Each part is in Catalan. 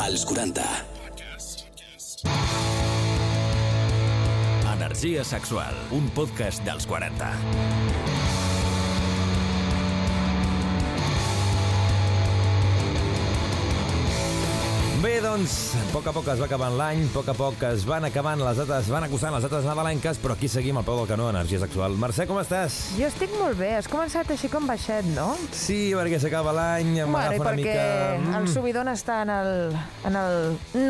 Als 40. Energia sexual, un podcast dels 40. Bé, doncs, a poc a poc es va acabant l'any, a poc a poc es van acabant les dates, van acostant les dates nadalenques, però aquí seguim al peu del canó, energia sexual. Mercè, com estàs? Jo estic molt bé, has començat així com baixet, no? Sí, perquè s'acaba l'any, em Bueno, i m'agafa una perquè mica... mm. el subidon està en el, en el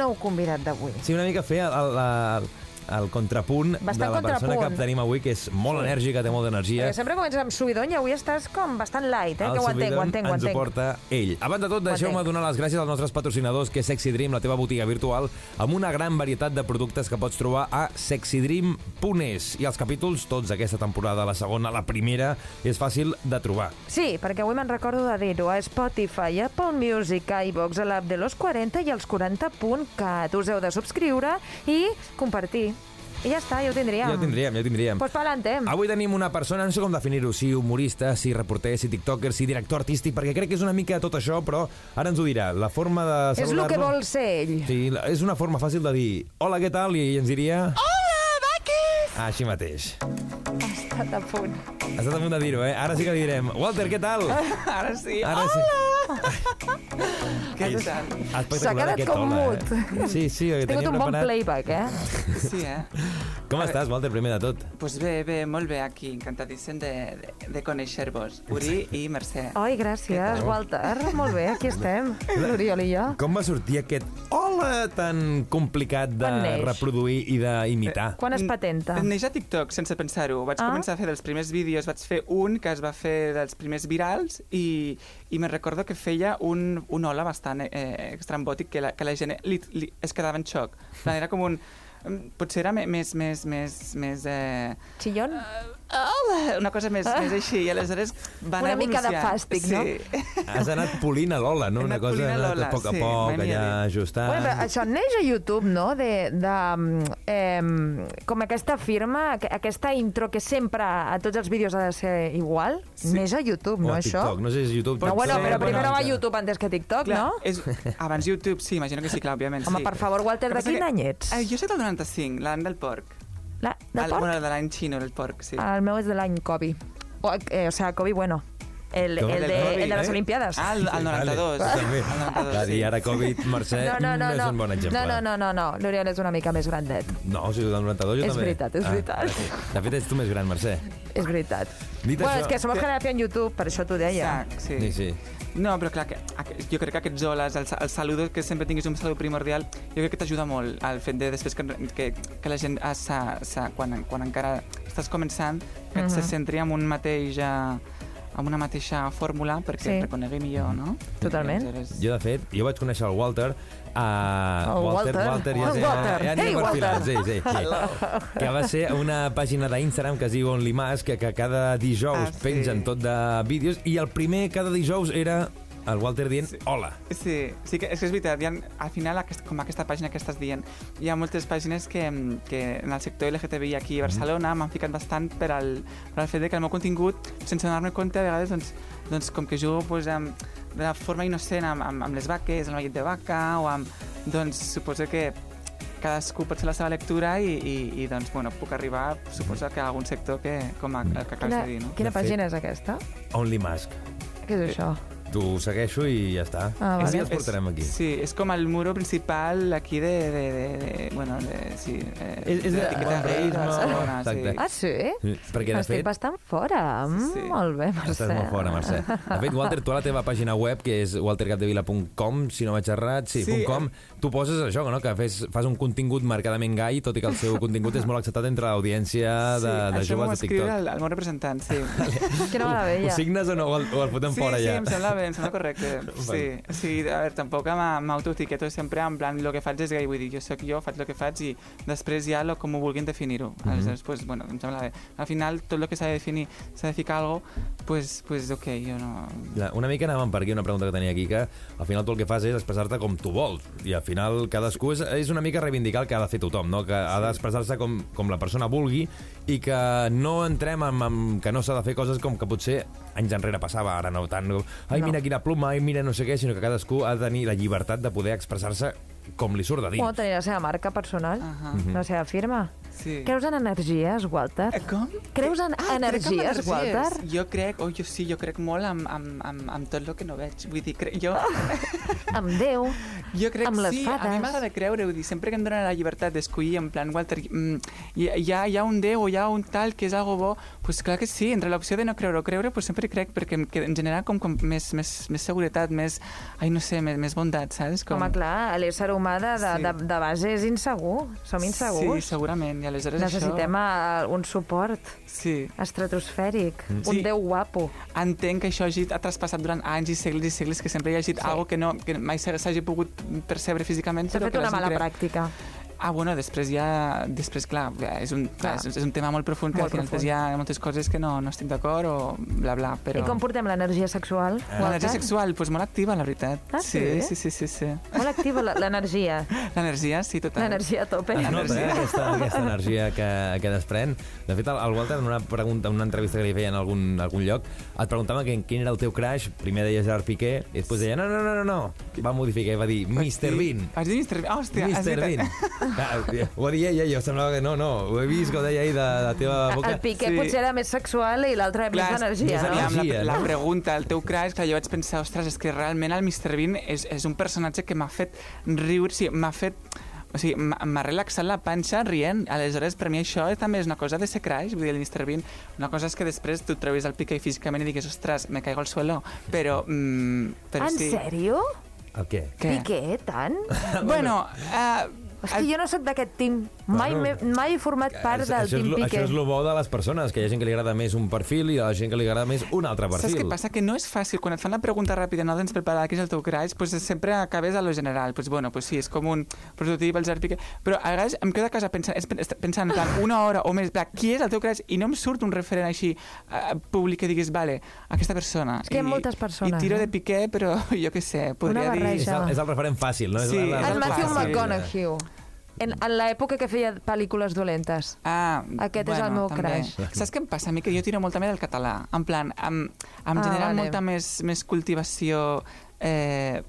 nou convidat d'avui. Sí, una mica fer el, el, el, el contrapunt Bastant de la persona contrapunt. que tenim avui, que és molt enèrgica, té molta energia. Perquè sempre comences amb subidon i avui estàs com bastant light, eh? El que ho entenc, Subidon ho entenc, ho ens ho entenc. porta ell. Abans de tot, deixeu-me entenc. donar les gràcies als nostres patrocinadors, que és Sexy Dream, la teva botiga virtual, amb una gran varietat de productes que pots trobar a sexydream.es. I els capítols, tots aquesta temporada, la segona, la primera, és fàcil de trobar. Sí, perquè avui me'n recordo de dir-ho a Spotify, Apple Music, a iVox, a l'app de los 40 i als 40.cat. Us heu de subscriure i compartir. I ja està, ja ho tindríem. Ja Doncs ho tindríem, ja ho tindríem. Pues mm. pa'lante. Avui tenim una persona, no sé com definir-ho, si humorista, si reporter, si tiktoker, si director artístic, perquè crec que és una mica de tot això, però ara ens ho dirà. La forma de És el saludar-lo... que vol ser ell. Sí, la- és una forma fàcil de dir hola, què tal? I ens diria... Hola, vaquis! Així mateix. Ha estat a punt. Has estat a punt de dir-ho, eh? Ara sí que li direm. Walter, què tal? Ara sí. Oh! Ara sí. Què És tal? S'ha espectacular quedat aquest hola, com mut. eh? Sí, sí, Has ho tingut tenia un bon preparat. playback, eh? Sí, eh? Com estàs, Walter, primer de tot? Doncs pues bé, bé, molt bé aquí. Encantadíssim de, de, de conèixer-vos, Uri i Mercè. Ai, gràcies, Walter. Molt bé, aquí estem, l'Oriol i jo. Com va sortir aquest hola tan complicat de Quan neix? Eh, reproduir i d'imitar? Quan es patenta? N- Neix a TikTok, sense pensar-ho. Vaig Ah. començar a fer dels primers vídeos, vaig fer un que es va fer dels primers virals i, i me recordo que feia un, un hola bastant eh, extrambòtic que la, que la gent li, li, es quedava en xoc. En plan, Era com un... mm, Potser era me- més... més, més, més eh, Chillon? hola! Una cosa més, més així. I aleshores va anar Una mica de evolucionant. fàstic, no? sí. Has anat polint a l'ola, no? He Una anat cosa polint a anat l'ola, a poc a sí, poc, m'he allà dit. ajustant. Bueno, però això neix a YouTube, no? De, de, eh, com aquesta firma, aqu- aquesta intro que sempre a tots els vídeos ha de ser igual, sí. neix a YouTube, o no, a això? TikTok, no sé si és YouTube. No, bueno, ser, però bueno, primer va ja. a YouTube antes que TikTok, Clar, eh, no? És, abans YouTube, sí, imagino que sí, clar, òbviament. Home, sí. per favor, Walter, Que de passa quin que- any ets? Eh, jo soc del 95, l'any del porc. La, de El- porc? Ah, Bueno, de l'any xino, el porc, sí. El meu és de l'any Kobe. O, eh, o sea, Kobe, bueno, el, Kobe, el, del de, Kobe, el de les eh? Olimpiades. Ah, el, el 92. Vale, també. El 92, Va dir, sí. ara Covid, Mercè, No, no, no, és no. un bon exemple. no, no, no, no, no. l'Oriol és una mica més grandet. No, si del 92 jo És també. veritat, és veritat. gràcies. De fet, ets tu més gran, Mercè. És veritat. Dit bueno, això- és que som generació en YouTube, per això t'ho deia. Sac, sí. Sí, sí. No, però clar, que, aqu- jo crec que aquests oles, el, sa- el saludo, que sempre tinguis un salut primordial, jo crec que t'ajuda molt al fet de després que, que, que la gent, ah, sa, sa, quan, quan encara estàs començant, que Mhm. se centri en un mateix... eh, amb una mateixa fórmula perquè Sí. et reconegui millor, no? Totalment. I aleshores- Jo, de fet, jo vaig conèixer el Walter... Uh, El Walter, Walter. Walter, ja sé, Walter. Ja, ja Hey, anem perfilant, Walter. sí, sí, sí. Que va ser una pàgina d'Instagram que es diu Only Mas, que, que cada dijous Ah, sí. pengen tot de vídeos, i el primer cada dijous era el Walter dient hola. Sí, sí que, és que és veritat, hi ha, al final, aquest, com aquesta pàgina que estàs dient, hi ha moltes pàgines que, que en el sector LGTBI aquí a Barcelona m'han ficat bastant per al, per al fet de que el meu contingut, sense donar-me compte, a vegades, doncs, doncs com que jugo pues, amb, de la forma innocent amb, amb, amb les vaques, amb la llet de vaca, o amb... Doncs suposo que cadascú pot fer la seva lectura i, i, i doncs, bueno, puc arribar, suposo que a algun sector que, com a, el que acabes Quina, de dir, no? quina De fet- pàgina és aquesta? Only Mas. Què és això? Tu segueixo i ja està. Ah, Un vale. dia els portarem aquí. Sí, és com el muro principal aquí de... de, de, de bueno, de, sí, eh, És- és de- l'etiqueta de- Reis, de- Barcelona, Exacte. sí. Ah, sí? Sí, Perquè, de Estic fet, bastant fora. Mm, Sí. Molt bé, Mercè. Estàs molt fora, Mercè. De fet, Walter, tu a la teva pàgina web, que és waltercapdevila.com, si no vaig errat, sí, Sí. .com, tu poses això, no? que fes, fas un contingut marcadament gai, tot i que el seu contingut és molt acceptat entre l'audiència Ah, de, de això m'ho va joves de escriure TikTok. el, el meu representant, sí. Quina Ho meravella. signes o no? O el, o el fotem sí, fora sí, ja? em sembla bé, em sembla correcte. Sí, sí a veure, tampoc m'ha- m'autoetiqueto sempre en plan el que faig és gai, vull dir, jo sóc jo, faig el que faig i després ja lo, com ho vulguin definir-ho. Mhm. Aleshores, pues, bueno, em sembla bé. Al final, tot el que s'ha de definir, s'ha de ficar alguna cosa, pues, pues ok, jo no... La- Una mica anàvem per aquí, una pregunta que tenia aquí, que al final tu el que fas és expressar-te com tu vols, i al final cadascú és, és una mica reivindicar el que ha de fer tothom, no? que ha d'expressar-se com, com la persona vulgui i que no entrem en, en que no s'ha de fer coses com que potser anys enrere passava, ara no tant. Ai, No. no. mira quina pluma, i mira no sé què, sinó que cadascú ha de tenir la llibertat de poder expressar-se com li surt de Pot dins. tenir la seva marca personal, Ahà. Mhm. la seva firma. Sí. Creus en energies, Walter? Eh, Com? Creus en crec en energies, Walter? Jo crec, oh, jo sí, jo crec molt amb, amb, amb, amb tot el que no veig. Vull dir, cre... jo, Amb Déu? jo crec amb les sí, a mi fades. m'agrada creure, vull dir, sempre que em donen la llibertat d'escollir, en plan, Walter, mm, hi, hi, ha, hi ha un Déu, hi ha un tal que és algo bo, doncs pues clar que sí, entre l'opció de no creure o creure, pues sempre crec, perquè em, que em genera com, com més, més, més seguretat, més, ai, no sé, més, més bondat, saps? Com... Com... Home, clar, l'ésser humà de, de, Sí. de, de base és insegur. Som Sí, insegurs. segurament, i aleshores Necessitem això... eh, un suport Sí. estratosfèric, Mm. un Sí. Déu guapo. entenc que això hagi, ha traspassat durant anys i segles i segles que sempre hi ha hagi sí. algo que, no, que mai s'ha- s'hagi pogut percebre físicament. S'ha però fet que la una gent mala creu- pràctica. Ah, bueno, després ja... Després, clar, ja és un, clar. Clar. És, és un tema molt profund, que Molt al final profund. després hi ha moltes coses que no, no estic d'acord o bla, bla, però... I com portem l'energia sexual? Eh. Walter? L'energia sexual, doncs molt activa, la veritat. Ah, sí? Sí, sí, sí, sí. sí. Molt activa la- l'energia, L'energia, sí, total. l'energia a tope. Es nota, eh, aquesta, aquesta energia que, que desprèn. De fet, el, el Walter, en una, pregunta, en una entrevista que li feien en algun, algun lloc, et preguntava que, quin era el teu crush. Primer deia Gerard Piqué, i després deia, no, no, no, no, no. Va modificar i va dir, Mr. Bean. Has dit Mr. Bean? Hòstia, has Mr. dit- Bean. Ah, Ho va dir ella, jo semblava que no, no. Ho he vist, que ho deia ahir de la teva boca. El Piqué Sí. potser era més sexual i l'altre més d'energia, més clar, no? amb Energia, la, la no? pregunta, el teu crash, clar, jo vaig pensar, ostres, és que realment el Mr. Bean és, és un personatge que m'ha fet riure, sí, m'ha fet o sigui, m'ha m'ha relaxat la panxa rient. Aleshores, per mi això també és una cosa de ser crash. Vull dir, el Mr. Bean, una cosa és que després tu et trobis el Piqué físicament i diguis, ostres, me caigo al suelo. Però, mm, però En sí. sèrio? El què? Què? Piqué, tant? Bueno, eh, És que jo no sóc d'aquest team. Mai, Bueno, m'he- mai he format part Això- del això, és team lo, Piqué. això és el bo de les persones, que hi ha gent que li agrada més un perfil i a la gent que li agrada més un altre perfil. Saps què passa? Que no és fàcil. Quan et fan la pregunta ràpida, no tens preparada quin és el teu crash, doncs sempre acabes a lo general. Doncs, bueno, doncs sí, és com un prototip, els articles... Però a vegades em quedo a casa pensant, es- es- pensant en plan, una hora o més, en plan, qui és el teu crash? I no em surt un referent així eh, públic que diguis, vale, aquesta persona. És que hi ha I- moltes persones, I no? tiro de piqué, però jo què sé, podria És dir... barreja. el, és el referent fàcil, no? És Sí, la- la- és En el la- Matthew fàcil. McConaughey. En, en l'època que feia pel·lícules dolentes. Ah, Aquest és el meu crush. Saps què em passa a mi? Que jo tiro molt també del català. En plan, em, em Ah, genera vale. molta més, més cultivació... Eh,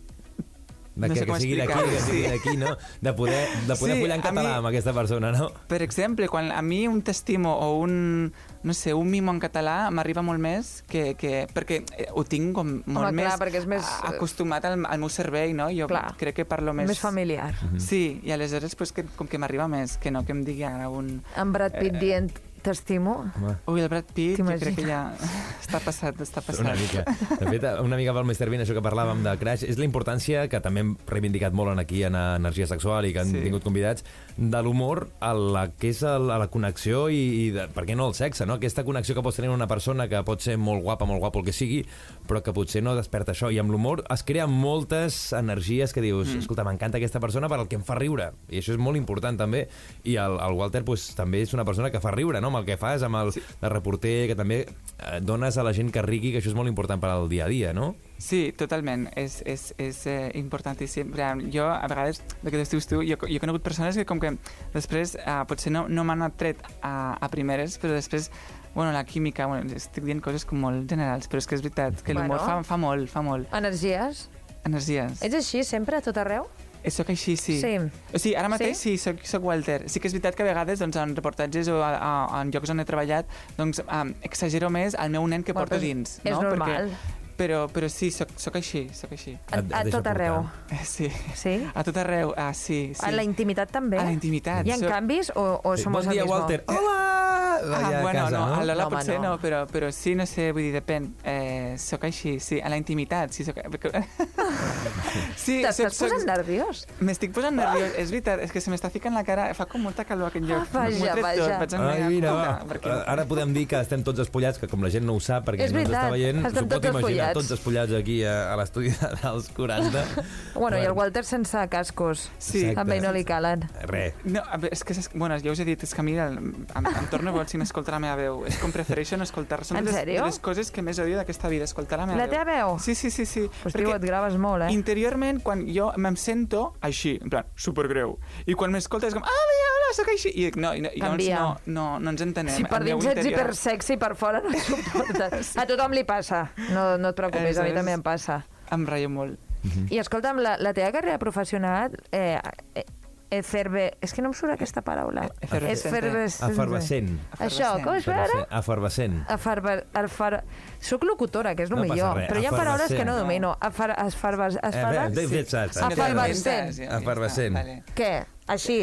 De no que, sé com que sigui d'aquí, explicar-ho. que sigui Sí. d'aquí, no? De poder, de poder Sí, sí, follar en a mi- català amb aquesta persona, no? Per exemple, quan a mi un t'estimo o un, no sé, un mimo en català m'arriba molt més que, que... Perquè eh, ho tinc com molt clar, més, perquè és més, a- eh, acostumat al, al meu cervell, no? Jo clar, crec que parlo més... Més, més familiar. Mhm. Sí, i aleshores pues, que, com que m'arriba més, que no que em digui ara un... En Brad Pitt Eh. dient t'estimo. Home, Ui, el Brad Pitt, jo crec que T'imagines? ja està passat, està passat. una mica. De fet, una mica pel Mr. Bean, això que parlàvem de Crash, és la importància que també hem reivindicat molt en aquí en Energia Sexual i que han sí. Sí. tingut convidats, de l'humor a la que és el- a la connexió i, i de, per què no el sexe, no? Aquesta connexió que pots tenir una persona que pot ser molt guapa, molt guapo el que sigui, però que potser no desperta això. I amb l'humor es creen moltes energies que dius, mm. escolta, m'encanta aquesta persona per el que em fa riure. I això és molt important també. I el, el Walter pues, també és una persona que fa riure, no? Amb el que fas, amb el, sí. el reporter, que també eh, dones a la gent que rigui, que això és molt important per al dia a dia, no? Sí, totalment. És, és, és eh, importantíssim. Però, jo, a vegades, el que dius tu, jo, jo he conegut persones que com que després eh, potser no, no m'han atret a, a primeres, però després, bueno, la química, bueno, estic dient coses com molt generals, però és que és veritat, que l'humor Bueno. fa, fa molt, fa molt. Energies. Energies. Ets així sempre, a tot arreu? Eh, Soc així, sí. Sí. O sigui, ara mateix Sí? sí, sí soc, soc Walter. Sí que és veritat que a vegades doncs, en reportatges o a, a, en llocs on he treballat doncs, um, exagero més el meu nen que Bueno, porto però és- dins. és no? normal. Perquè, però, però sí, soc, soc així, soc així. A, Et- et a deixa tot arreu. portar. Eh, Sí. Sí? A tot arreu, ah, sí, sí. A la intimitat també? A la intimitat. Hi ha Soc- canvis o, o som bon els dia, mismo? Eh, Walter. Hola! Ah, Vaya a bueno, casa, no, a No, l'Ola home, potser no. no, però, però sí, no sé, vull dir, depèn. Eh, soc així, sí, a la intimitat, sí, soc... sí, T'estàs posant nerviós? M'estic posant nerviós, és veritat, és que se m'està ficant la cara, fa com molta calor a aquest lloc. Ah, vaja, M'ho he tret vaja. Vaig Ai, mira, va. perquè... Eh, Ara podem dir que estem tots espollats, que com la gent no ho sap perquè És no ens està veritat, veient, estem s'ho pot tots imaginar espollats. tots espollats aquí a, a l'estudi dels 40. Bueno, i el Walter sense cascos. Sí. Exacte. També no li calen. Res. No, a veure, és que, és- bueno, ja us he dit, és que a mi el, em, em torno boig si no escolta la meva veu. És com prefereixo no escoltar. Són En de les, sèrio? de les coses que més odio d'aquesta vida, escoltar la meva La veu. teva veu? Sí, sí, sí. sí. Pues tio, et graves molt, eh? Interiorment, quan jo em sento així, en plan, supergreu. I quan m'escolta és com... Ah, mira, hola, sóc així. I dic, no, i, no, i llavors Canvia. no, no, no ens entenem. Si per El meu dins ets interior- hipersexy, per fora no suportes. A tothom li passa. No, no et preocupis, a mi Aleshores- també em passa. Em reio molt. I escolta'm, la, la teva carrera professional... Eh, eh, eferve... És que no em surt aquesta paraula. Efervescente. Efervescente. Efervescent. Això, com es veu ara? Efervescent. Efervescent. Afarba, alfar... Soc locutora, que és el No passa millor, res, però hi ha paraules que no efervescent. domino. Afar, asfarba, asfarba... Eh, bé, David Sass. Si no te Efervescent. inventes, ja- ja Efervescent. està, vale. Què? Així.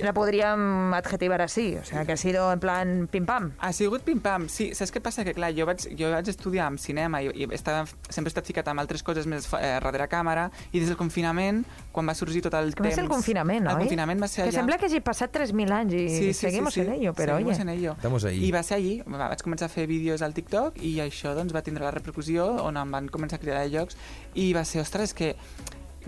La podríem adjetivar així, o sigui, que ha sido en plan pim-pam. Ha sigut pim-pam. Sí, saps què passa? Que clar, jo vaig, jo vaig estudiar amb cinema i, i estava, sempre he estat ficat amb altres coses més fa- eh, darrere càmera i des del confinament, quan va sorgir tot el Que va temps... ser el confinament, oi? El confinament va ser Que allà. sembla que hagi passat 3.000 anys i seguimos en ello, pero Seguimos oye. en ello. Estamos ahí. I va ser allí. Va, vaig començar a fer vídeos al TikTok i això doncs, va tindre la repercussió on em van començar a cridar de llocs i va ser, ostres, que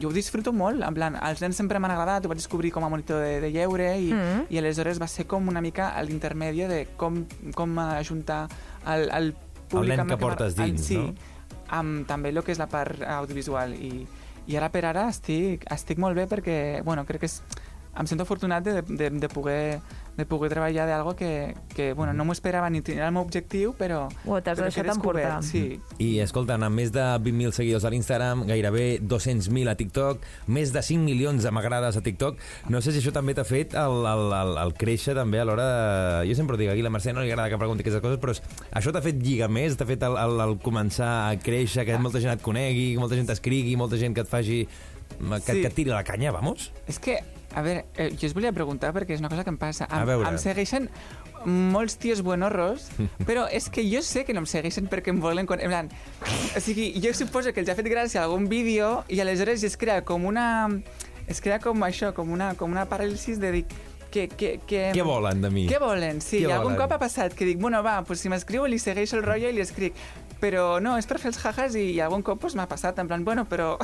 jo ho disfruto molt, en plan, els nens sempre m'han agradat, ho vaig descobrir com a monitor de, de lleure i, Mhm. i aleshores va ser com una mica a l'intermedi de com, com ajuntar el, el públic... nen amb que el m'agra- portes el- dins, sí, no? amb també el que és la part audiovisual i, i ara per ara estic, estic molt bé perquè bueno, crec que és, em sento afortunat de, de, de, poder, de poder treballar d'algo que, que bueno, no m'ho esperava ni tenia el meu objectiu, però... Ho t'has però que he deixat descobert, emportar. Sí, I escolta, amb més de 20.000 seguidors a l'Instagram, gairebé 200.000 a TikTok, més de 5 milions de m'agrades a TikTok, no sé si això també t'ha fet el, el, el, el créixer també a l'hora de... Jo sempre ho dic, aquí la Mercè no li agrada que pregunti aquestes coses, però és- això t'ha fet lligar més, t'ha fet el, el, el començar a créixer, que molta gent et conegui, que molta gent t'escrigui, molta gent que et faci... Que, Sí. que et tiri la canya, vamos. És que, a veure, eh, jo us volia preguntar perquè és una cosa que em passa. Em, A veure. Em segueixen molts tios buenorros, però és que jo sé que no em segueixen perquè em volen... Quan... En plan, o sigui, jo suposo que els ha fet gràcia algun vídeo i aleshores es crea com una... Es crea com això, com una, com una paràlisi de dir... Que, que, que, Què volen de mi? Què volen? Sí, Què i algun volen? cop ha passat que dic, bueno, va, pues si m'escriu li segueixo el rotllo i li escric. Però no, és per fer els jajas i, algun cop pues, m'ha passat, en plan, bueno, però...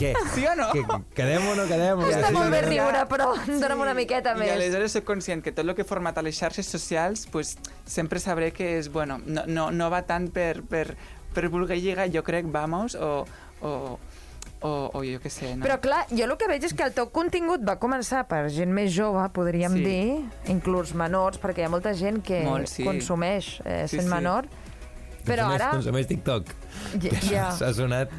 Què? Sí o no? Que, quedem o no quedem? Està Sí, molt bé no? riure, però dóna'm una miqueta I més. aleshores soc conscient que tot el que he format a les xarxes socials, pues, sempre sabré que és, bueno, no, no, no va tant per, per, per voler lligar, jo crec, vamos, o, o, o, o jo què sé, no? Però clar, jo el que veig és que el teu contingut va començar per gent més jove, podríem Sí. dir, inclús menors, perquè hi ha molta gent que Molt, sí. consumeix eh, Sí, sent sí. menor. Però Consumeix- ara... Consumeix TikTok. Ja, ja. S'ha sonat...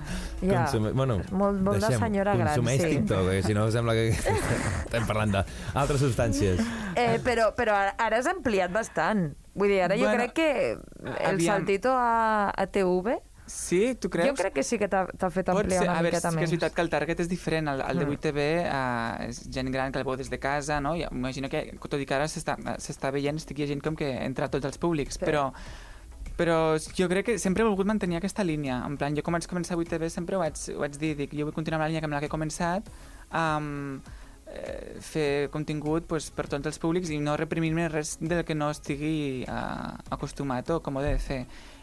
Ja. Consume... Bueno, Molt- molt de deixem. senyora gran, Consumeix sí. TikTok, perquè si no sembla que estem parlant d'altres substàncies. Eh, però, però ara- ara has ampliat bastant. Vull dir, ara jo Bueno, crec que el aviam. saltito a, a TV... Sí, tu creus? Jo crec que sí que t'ha t'ha fet Pot ampliar ser. una a veure, miqueta sí que més. Mm. és veritat que el target és diferent. El, el de 8TV eh, és gent gran que el veu des de casa, no? I imagino que, tot i que ara s'està s'està veient, estic gent com que entra a tots els públics, Sí. però però jo crec que sempre he volgut mantenir aquesta línia. En plan, jo quan vaig començar 8TV sempre ho vaig, ho vaig dir, dic, jo vull continuar amb la línia amb la que he començat, um, fer contingut pues, per tots els públics i no reprimir-me res del que no estigui uh, acostumat o com ho he de fer.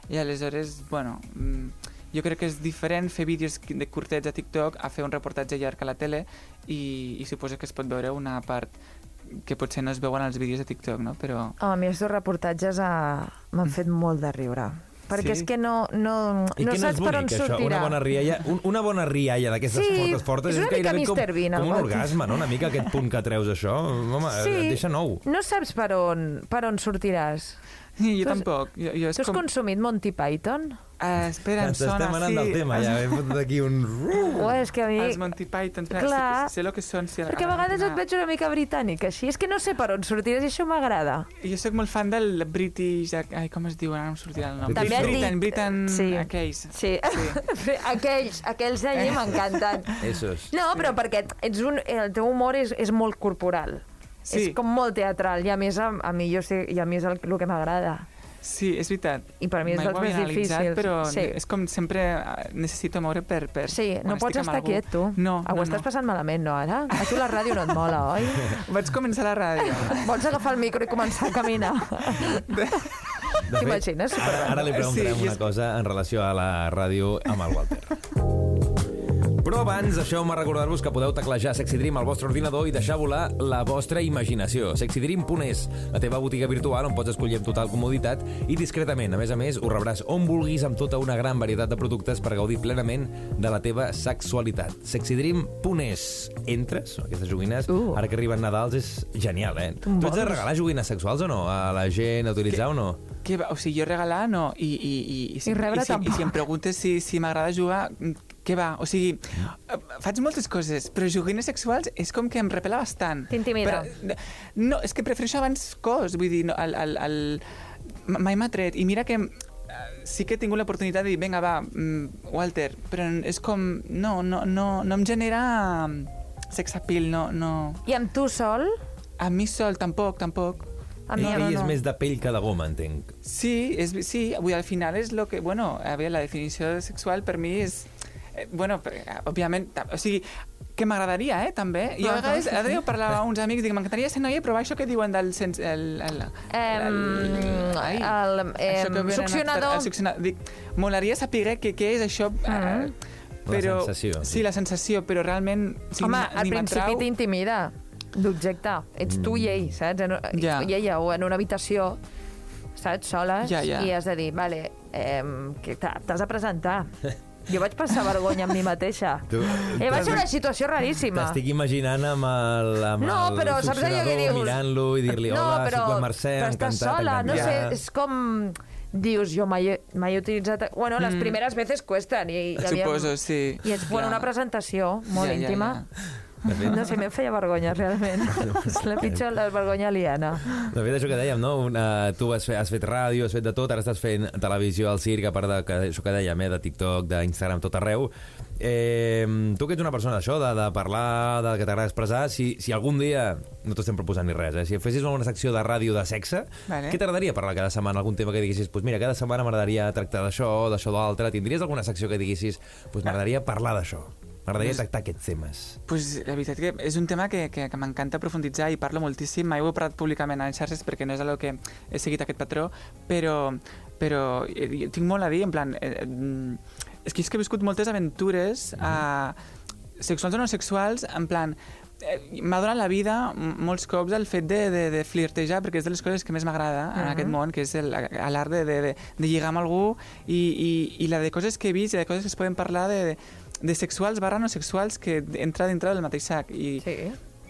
I aleshores, bueno, mm, jo crec que és diferent fer vídeos qui- de curtets a TikTok a fer un reportatge llarg a la tele i, i suposo que es pot veure una part que potser no es veuen els vídeos de TikTok, no? Però... Oh, a mi els dos reportatges eh, m'han fet molt de riure. Perquè Sí? és que no, no, I que no no és saps per bonic, on això? sortirà. Una bona rialla, un, una bona rialla d'aquestes Sí, fortes fortes és una mica gairebé Mr. Bean, com, el com un got. orgasme, no? Una mica aquest punt que treus això. Home, et deixa nou. No saps per on, per on sortiràs. I jo Tu has- tampoc. Jo, jo és Tu has com... consumit Monty Python? Ah, espera, em Ens sona, estem anant sí. del tema, ja hem fotut aquí un... O Oh, és que a mi... Els Monty Python, espera, Clar. sí, sé el que són. Sí, Perquè a vegades et veig una mica britànic, així. És que no sé per on sortiràs i això m'agrada. Jo sóc molt fan del British... Ai, com es diu? Ara no em sortirà el nom. També has Britain, dit- Britain, Sí. aquells. Sí. sí. aquells, aquells d'allí m'encanten. Esos. No, però perquè ets un, el teu humor és, és molt corporal. Sí. És com molt teatral, i a més a, a mi, jo sé, i a mi és el, el que m'agrada. Sí, és veritat. I per mi és dels Mai ho havia més analitzat, difícils. Però Sí. és com sempre eh, necessito moure per... per Sí, quan no estic pots amb estar algú. quiet, tu. No, Ah, Ho no, estàs no. passant malament, no, ara? A tu la ràdio no et mola, oi? Vaig començar la ràdio. Vols agafar el micro i començar a caminar? T'imagines? Ara, ara li preguntarem Sí, i una és- cosa en relació a la ràdio amb el Walter. Però Però abans, deixeu-me recordar-vos que podeu teclejar Sexy Dream al vostre ordinador i deixar volar la vostra imaginació. sexydream.es, la teva botiga virtual on pots escollir amb total comoditat i discretament. A més a més, ho rebràs on vulguis amb tota una gran varietat de productes per gaudir plenament de la teva sexualitat. sexydream.es. Entres, aquestes joguines, Uh. ara que arriben Nadals és genial, eh? Tu ets de vols? regalar joguines sexuals o no? A la gent, a utilitzar o no? Que, va- o sigui, jo regalar no, i, i, i, si, I rebre si, i tampoc. si em preguntes si, si m'agrada jugar, mm, què va? O sigui, eh, faig moltes coses, però joguines sexuals és com que em repela bastant. T'intimida. Però, no, és que prefereixo abans cos, vull dir, no, el, el, el, m- mai m'ha tret. I mira que eh, sí que he tingut l'oportunitat de dir, vinga, va, mm, Walter, però és com, no, no, no, no em genera sexapil, no, no. I amb tu sol? A mi sol, tampoc, tampoc. A mi Ell, Ah, no, ell és no. més de pell que de goma, entenc. Sí, és, sí, vull, dir, al final és lo que... Bueno, a veure, la definició sexual per mi és... Eh, bueno, per, eh, òbviament, ta- o sigui, que m'agradaria, eh, també. Jo a Ah, vegades, sí, sí. ara jo parlava a uns amics, dic, m'encantaria ser noia, però això que diuen del... Sens, el, el, Em, ai, el, això em, que venen succionador. El succionador. Dic, molaria saber què, què és això... Mhm. Eh, La però, sensació, Sí, sí. la sensació, però realment... Sí, Home, ni- al ni principi m'atrau. t'intimida d'objecte. Ets tu i ell, saps? En, yeah. Ja. I ella, o en una habitació, saps? Soles. Ja, ja. I has de dir, vale, eh, t'has de presentar. Jo vaig passar vergonya amb mi mateixa. Tu- eh, va ser una situació raríssima. T'estic imaginant amb el, amb No, el però saps allò que succionador dius... mirant-lo i dir-li no, hola, però, soc la Mercè, però estàs encantat, sola, no sé, encantada. és com... Dius, jo mai, he- mai he utilitzat... Bueno, les primeres veces cuesten. I, i havíem- Mm. Suposo, sí. I ets, bueno, Clar. una presentació molt Ja, ja, íntima. ja. De fet, No sé, a mi em feia vergonya, realment. És la pitjor, la vergonya aliena. de fet, això que dèiem, no? Una, tu has fet, has fet ràdio, has fet de tot, ara estàs fent televisió al circ, a part de que, això que dèiem, eh, de TikTok, d'Instagram, tot arreu. Eh, tu que ets una persona d'això, de, de parlar, de que t'agrada expressar, si, si algun dia, no t'estem proposant ni res, eh, si fessis una secció de ràdio de sexe, Vale. què t'agradaria parlar cada setmana? Algun tema que diguessis, pues mira, cada setmana m'agradaria tractar d'això, d'això, d'altre, tindries alguna secció que diguessis, pues m'agradaria parlar d'això, m'agradaria tractar aquests temes. Pues, la veritat que és un tema que, que, que m'encanta profunditzar i parlo moltíssim. Mai ho he parlat públicament a les xarxes perquè no és el que he seguit aquest patró, però, però eh, jo tinc molt a dir, en plan... Eh, mm, és que és que he viscut moltes aventures eh, sexuals o no sexuals, en plan... eh, M'ha donat la vida m- molts cops el fet de, de, de flirtejar, perquè és de les coses que més m'agrada en aquest món, que és el- a l'art de, de, de, de lligar amb algú i, i, i la de coses que he vist i de coses que es poden parlar de, de, de sexuals barra no sexuals que entra dintre del mateix sac. I, Sí.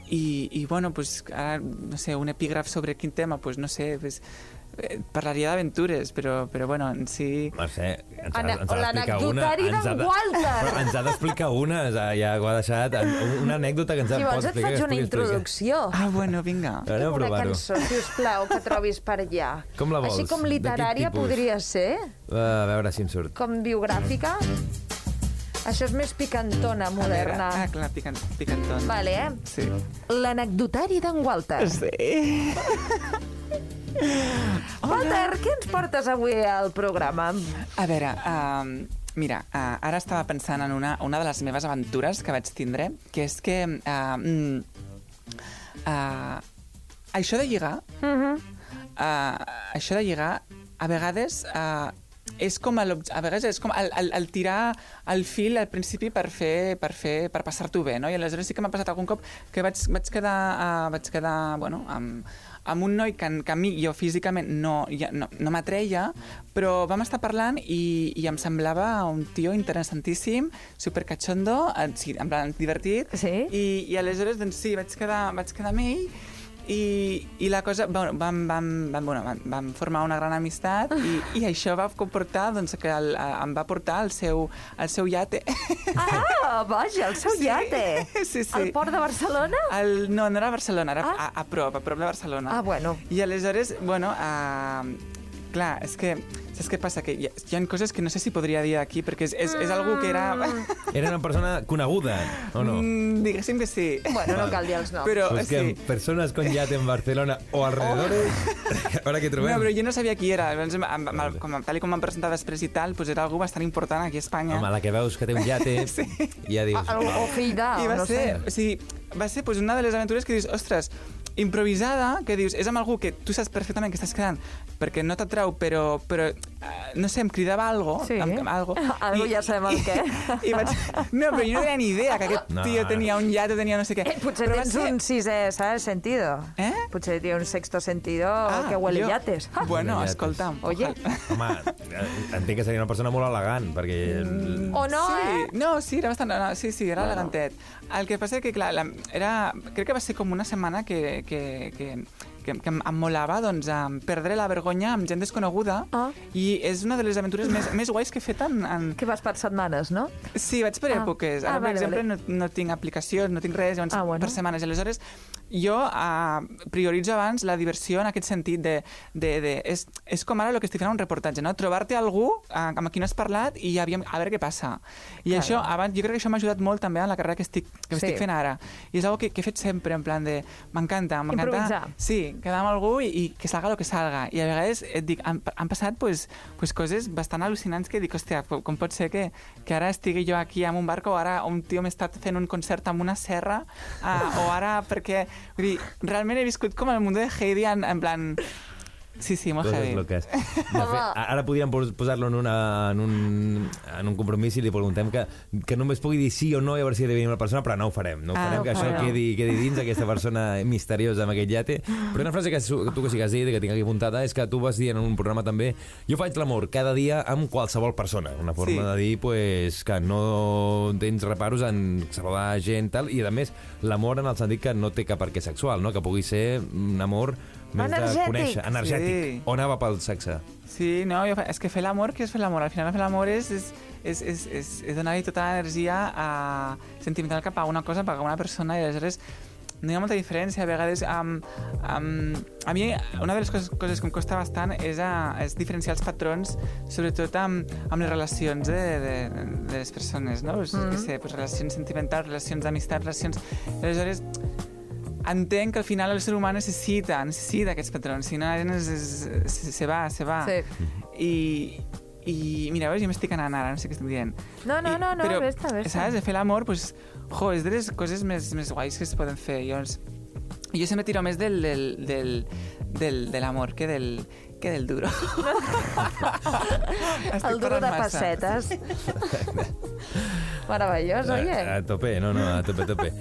i, i bueno, pues, ara, no sé, un epígraf sobre quin tema, pues, no sé, pues, eh, parlaria d'aventures, però, però bueno, en si... Mercè, ens, ha- Ana- ens ha d'explicar o una. l'anecdotari ens ha d'en de- Walter. Però Ens ha d'explicar una, ja, ja ho ha deixat. en- Una anècdota que ens ha Si vols et faig una introducció. Ah, bueno, vinga. Anem a una provar-ho. cançó, si us plau, que trobis per allà. Com la vols? Així com De quin literària tipus? podria ser, Uh, a veure si em surt. com biogràfica. Això és més picantona, moderna. Ah, clar, picant, picantón. Vale, eh? Sí. L'anecdotari d'en Walter. Sí. Walter, què ens portes avui al programa? A veure, um, mira, uh, ara estava pensant en una, una de les meves aventures que vaig tindre, que és que... Uh, mm, uh, això de lligar... uh, això de lligar, a vegades... Uh, és com el, a vegades és com el, el, el tirar el fil al principi per fer per fer per passar-t'ho bé, no? I aleshores sí que m'ha passat algun cop que vaig, vaig quedar, uh, vaig quedar bueno, amb, amb un noi que, que a mi jo físicament no, ja, no, no m'atreia, però vam estar parlant i, i em semblava un tio interessantíssim, supercachondo, eh, sí, en plan divertit, Sí? i, i aleshores doncs, sí, vaig quedar, vaig quedar amb ell i, i la cosa, bueno, vam, vam, vam, bueno, vam, vam formar una gran amistat i, i això va comportar doncs, que el, eh, em va portar al seu, al seu iate. Ah, vaja, el seu Sí. iate. Sí, sí. Al port de Barcelona? El, no, no era a Barcelona, era Ah. ah. a, a prop, a prop de Barcelona. Ah, bueno. I aleshores, bueno, uh, clar, és que... Saps què passa? Que hi ha, hi ha coses que no sé si podria dir aquí, perquè és, és, és algú que era... Era una persona coneguda, o no? Mm, Diguéssim que sí. Bueno, no cal dir els noms. Però, pues que sí. persones con yate en Barcelona o alrededor... Ara que trobem... Oh. No, però jo no sabia qui era. Llavors, amb, amb, amb, com, tal i com m'han presentat després i tal, doncs era algú bastant important aquí a Espanya. Home, la que veus que té un yate, Sí. Ah, oh, ja dius... Ah, O, o fill de... I va no ser, Sé. o sigui, va ser doncs, una de les aventures que dius, ostres, improvisada, que dius, és amb algú que tu saps perfectament que estàs quedant, perquè no t'atrau, però, però eh, no sé, em cridava algo, Sí. em, em- algo, Algo ja sabem el què. I, vaig... No, però jo no tenia ni idea que aquest No, no, tio no. tenia un llat o tenia no sé què. Eh, potser Però va tens ser- un sisè, ¿sabes? Sentido. Eh? Potser té un sexto sentido que huele jo- yates. Ah, Bueno, Huele escolta'm. Oye. ojalà. Home, eh, entenc que seria una persona molt elegant, perquè... Mm. O no, sí, eh? No, sí, era bastant... No, no, sí, sí, era bueno. elegantet. El que passa que, clar, la, era, crec que va ser com una setmana que, que, que, que, que em, em molava doncs, em perdre la vergonya amb gent desconeguda Ah. i és una de les aventures més, més guais que he fet en, en, Que vas per setmanes, no? Sí, vaig per Ah. èpoques. Ah, vale, Ara, per exemple, No, no tinc aplicacions, no tinc res, llavors Ah, ah, bueno. bueno. per setmanes. Aleshores, jo eh, prioritzo abans la diversió en aquest sentit de... de, de és, és com ara el que estic fent a un reportatge, no? Trobar-te algú eh, amb qui no has parlat i aviam, a veure què passa. I Clar. això, abans, jo crec que això m'ha ajudat molt també en la carrera que estic, que Sí. estic fent ara. I és una que, que he fet sempre, en plan de... M'encanta, m'encanta... Improvisar. Sí, quedar amb algú i, i que salga el que salga. I a vegades et dic, han, han passat pues, pues coses bastant al·lucinants que dic, hòstia, com, com pot ser que, que ara estigui jo aquí amb un barco o ara un tio m'està fent un concert amb una serra uh, o ara perquè... Vull dir, realment he viscut com el mundo de Heidi en, en plan... Sí, sí, molt Coses heavy. loques. De fet, ara podríem pos- posar-lo en, una, en, un, en un compromís i li preguntem que, que només pugui dir sí o no i a veure si adivina la persona, però no ho farem. No ho Ah, farem, no que ho això farem. quedi, quedi dins aquesta persona misteriosa amb aquest llate. Però una frase que su- que tu que sí que has dit, que tinc aquí apuntada, és que tu vas dir en un programa també jo faig l'amor cada dia amb qualsevol persona. Una forma Sí. de dir pues, que no tens reparos en saludar gent, tal, i a més l'amor en el sentit que no té cap per què sexual, no? que pugui ser un amor més Energètic. de conèixer, energètic. Sí. O anava pel sexe? Sí, no, jo, fa- és que fer l'amor, què és fer l'amor? Al final fer l'amor és, és, és, és, és, és donar-hi tota l'energia a, sentimental cap a una cosa, cap a una persona, i aleshores no hi ha molta diferència. A vegades, um, um, a mi una de les coses, coses que em costa bastant és, a, és diferenciar els patrons, sobretot amb, amb les relacions de, de, de les persones, no? Pues, mm. sé, pues, relacions sentimentals, relacions d'amistat, relacions... Aleshores, entenc que al final el ser humà necessita, necessita aquests patrons, si no la gent es, es, se, se va, se va. Sí. I, i mira, veus, jo m'estic anant ara, no sé què estic dient. No, no, I, no, no, però, vés-te, vés-te. Saps, de fer l'amor, pues, jo, és de les coses més, més guais que es poden fer. Llavors, jo sempre tiro més del, del, del, del, de l'amor que del, que del duro. Estic el duro parlant de massa. pessetes. Meravellós, A, oye. Eh, Eh, a tope, no, no, a tope, a tope.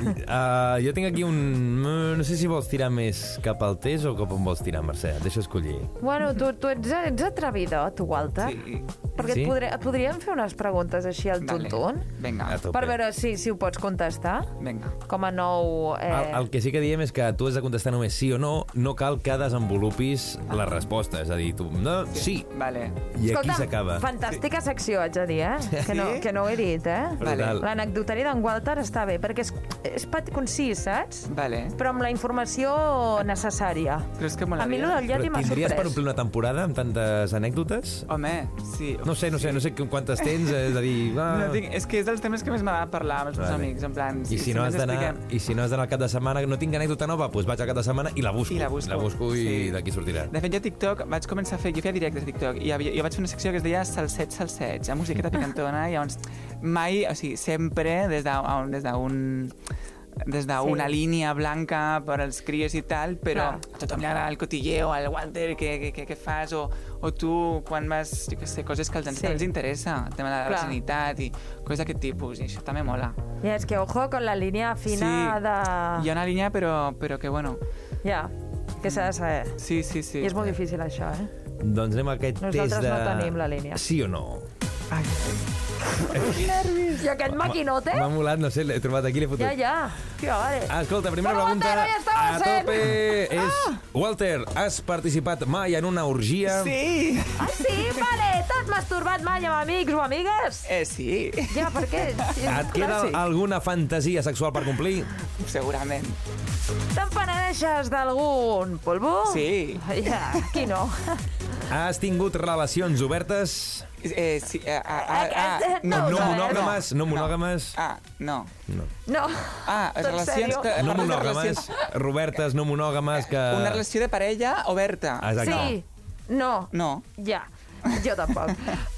Uh, jo tinc aquí un... mm, No sé si vols tirar més cap al test o cap on vols tirar, Mercè. Et deixo escollir. Bueno, tu, tu ets, ets atrevidor, tu, Walter. eh. Sí. Perquè Sí? et, podré, et podríem fer unes preguntes així al Vale. tuntun. Vinga, A tope. Per veure si, si ho pots contestar vinga. com a nou... Eh... El, el que sí que diem és que tu has de contestar només sí o no, no cal que desenvolupis la resposta. És a dir, tu... No, sí. Vale. I aquí Escolta'm, s'acaba. fantàstica secció, haig de dir, eh? Que no, Sí? que no ho he dit, eh? Brutal. L'anecdotari d'en Walter està bé, perquè és, és pat concís, saps? Vale. Però amb la informació necessària. Creus que A mi molaria? allò del Però llati m'ha tindries per sorprès. omplir una temporada amb tantes anècdotes? Home, sí. No sé, no sé, no sé quantes tens, és a dir... Va... No tinc, és que és dels temes que més m'agrada parlar amb els meus Ah, Vale. amics, en plan... I si, no has ens d'anar, expliquem. I si no has d'anar al cap de setmana, no tinc anècdota nova, doncs vaig al cap de setmana i la busco. I la busco. la busco i Sí. d'aquí sortirà. De fet, jo a TikTok vaig començar a fer... Jo feia directes a TikTok i havia, jo vaig fer una secció que es deia Salsets, salsets, amb musiqueta picantona, i llavors mai, o sigui, sempre des d'un... Des d'un des d'una Sí. línia blanca per als crios i tal, Clar. però a tothom li agrada el cotilleo, el Walter, què, què, què, què fas, o, o tu, quan vas, jo què sé, coses que als nens Sí. també els interessa, el tema de la Clar. virginitat i coses d'aquest tipus, i això també mola. Ja, és que ojo con la línia fina Sí. de... Hi ha una línia, però, però que, bueno... Ja, que s'ha de saber. Sí, sí, sí. I és molt difícil, això, eh? Doncs anem a aquest Nosaltres test de... no tenim la línia. Sí o no? Ai, I aquest maquinote? M'ha molat, no sé, l'he trobat aquí, l'he fotut. Ja, ja. Que hòstia. Escolta, primera Però pregunta Walter, ja estava Ah! a sent. tope és... Walter, has participat mai en una orgia? sí! Ah, sí? Vale, t'has masturbat mai amb amics o amigues? Eh, sí, Ja, per què? Et queda Clar, sí. alguna fantasia sexual per complir? segurament. Te'n penedeixes d'algun polvo? Sí. Ja, qui no? Has tingut relacions obertes? Eh, sí eh, ah, ah, ah, Eh, eh, No, No, no, monògames? No monògames? Ah, no. No. No. Ah, Tot relacions... serio? eh, No parles de monògames, relacions- Robertes, no monògames, que... Ah. Una relació de parella oberta. Exacte. Sí. No. No. Ja. Jo tampoc.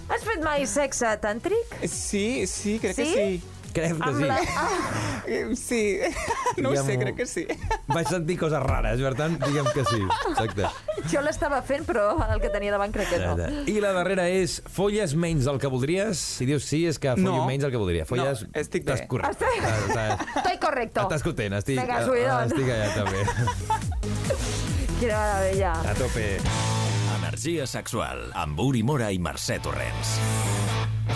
Has fet mai sexe tàntric? Eh, Sí, sí, crec que Sí? sí. Crec que sí. Ah, Eh, Sí, no ho Ja sé, m'ho- crec que sí. Vaig sentir coses rares, per tant, diguem que sí. Exacte. Jo l'estava fent, però el que tenia davant crec que no. I la darrera és folles menys del que voldries. Si dius sí, és que follo No. menys del que voldria. Folles... No, estic bé. Estàs Ah, correcte. Estàs- Estoy correcto. Estàs content, estic, Ah, Vinga, subidón. estic allà també. Quina meravella. A tope. Energia sexual amb Uri Mora i Mercè Torrents.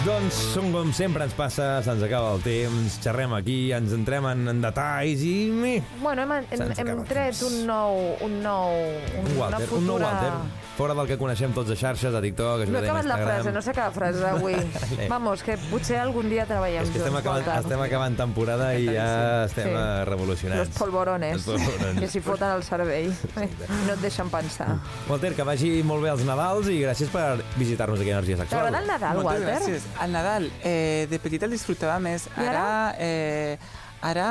Doncs, som com sempre ens passa, se'ns acaba el temps, xerrem aquí, ens entrem en, en detalls i... mi, Bueno, hem, hem, Se'ns acaba hem el tret temps. un nou... Un nou... Un, Un una Walter, futura... un nou Walter. Fora del que coneixem tots a xarxes, a TikTok, a No he Instagram... acabat la frase, no sé cada frase avui. Vamos, que potser algun dia treballem És que junts. estem acabant, Walter. estem acabant temporada i ja estem Sí. eh, revolucionats. Los polvorones, Els polvorones. que s'hi foten al cervell. No et deixen pensar. Walter, que vagi molt bé els Nadals i gràcies per visitar-nos aquí a Energia Sexual. T'agrada el Nadal, Moltes Walter? gràcies. El Nadal, eh, de petit el disfrutava més. I ara? Ara... Eh, ara...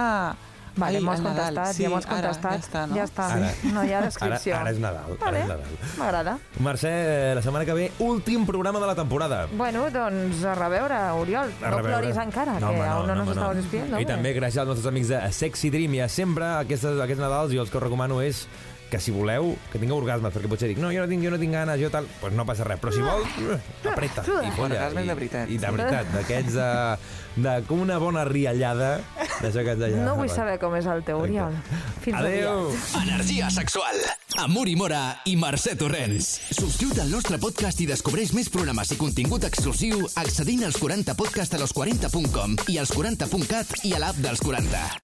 Vale, Ai, m'ho has el Nadal. contestat, ja m'ho has ara, contestat. Ja està, no? Ja està. Ara. No hi ha Ara, descripció. ara és Nadal. Ara Vale, és Nadal. m'agrada. Mercè, eh, la setmana que ve, últim programa de la temporada. Bueno, doncs a reveure, Oriol. A no reveure. ploris encara, que home, aún no, nos home, estamos despidiendo. I també gràcies als nostres amics de Sexy Dream. Ja sempre aquestes, aquests Nadals jo els que us recomano és que si voleu, que tingueu orgasmes, perquè potser dic, no, jo no tinc, jo no tinc ganes, jo tal, doncs no passa res, però si Ah. vols, eh, apreta. I folla. Orgasmes I- de veritat. I de veritat, d'aquests de, de, com una bona riallada, d'això que ens deia. No vull saber com és el teu, Oriol. Fins aviat. Adéu. Energia sexual amb Uri Mora i Mercè Torrents. Subscriu't al nostre podcast i descobreix més programes i contingut exclusiu accedint als 40podcastalos40.com i als 40.cat i a l'app dels 40.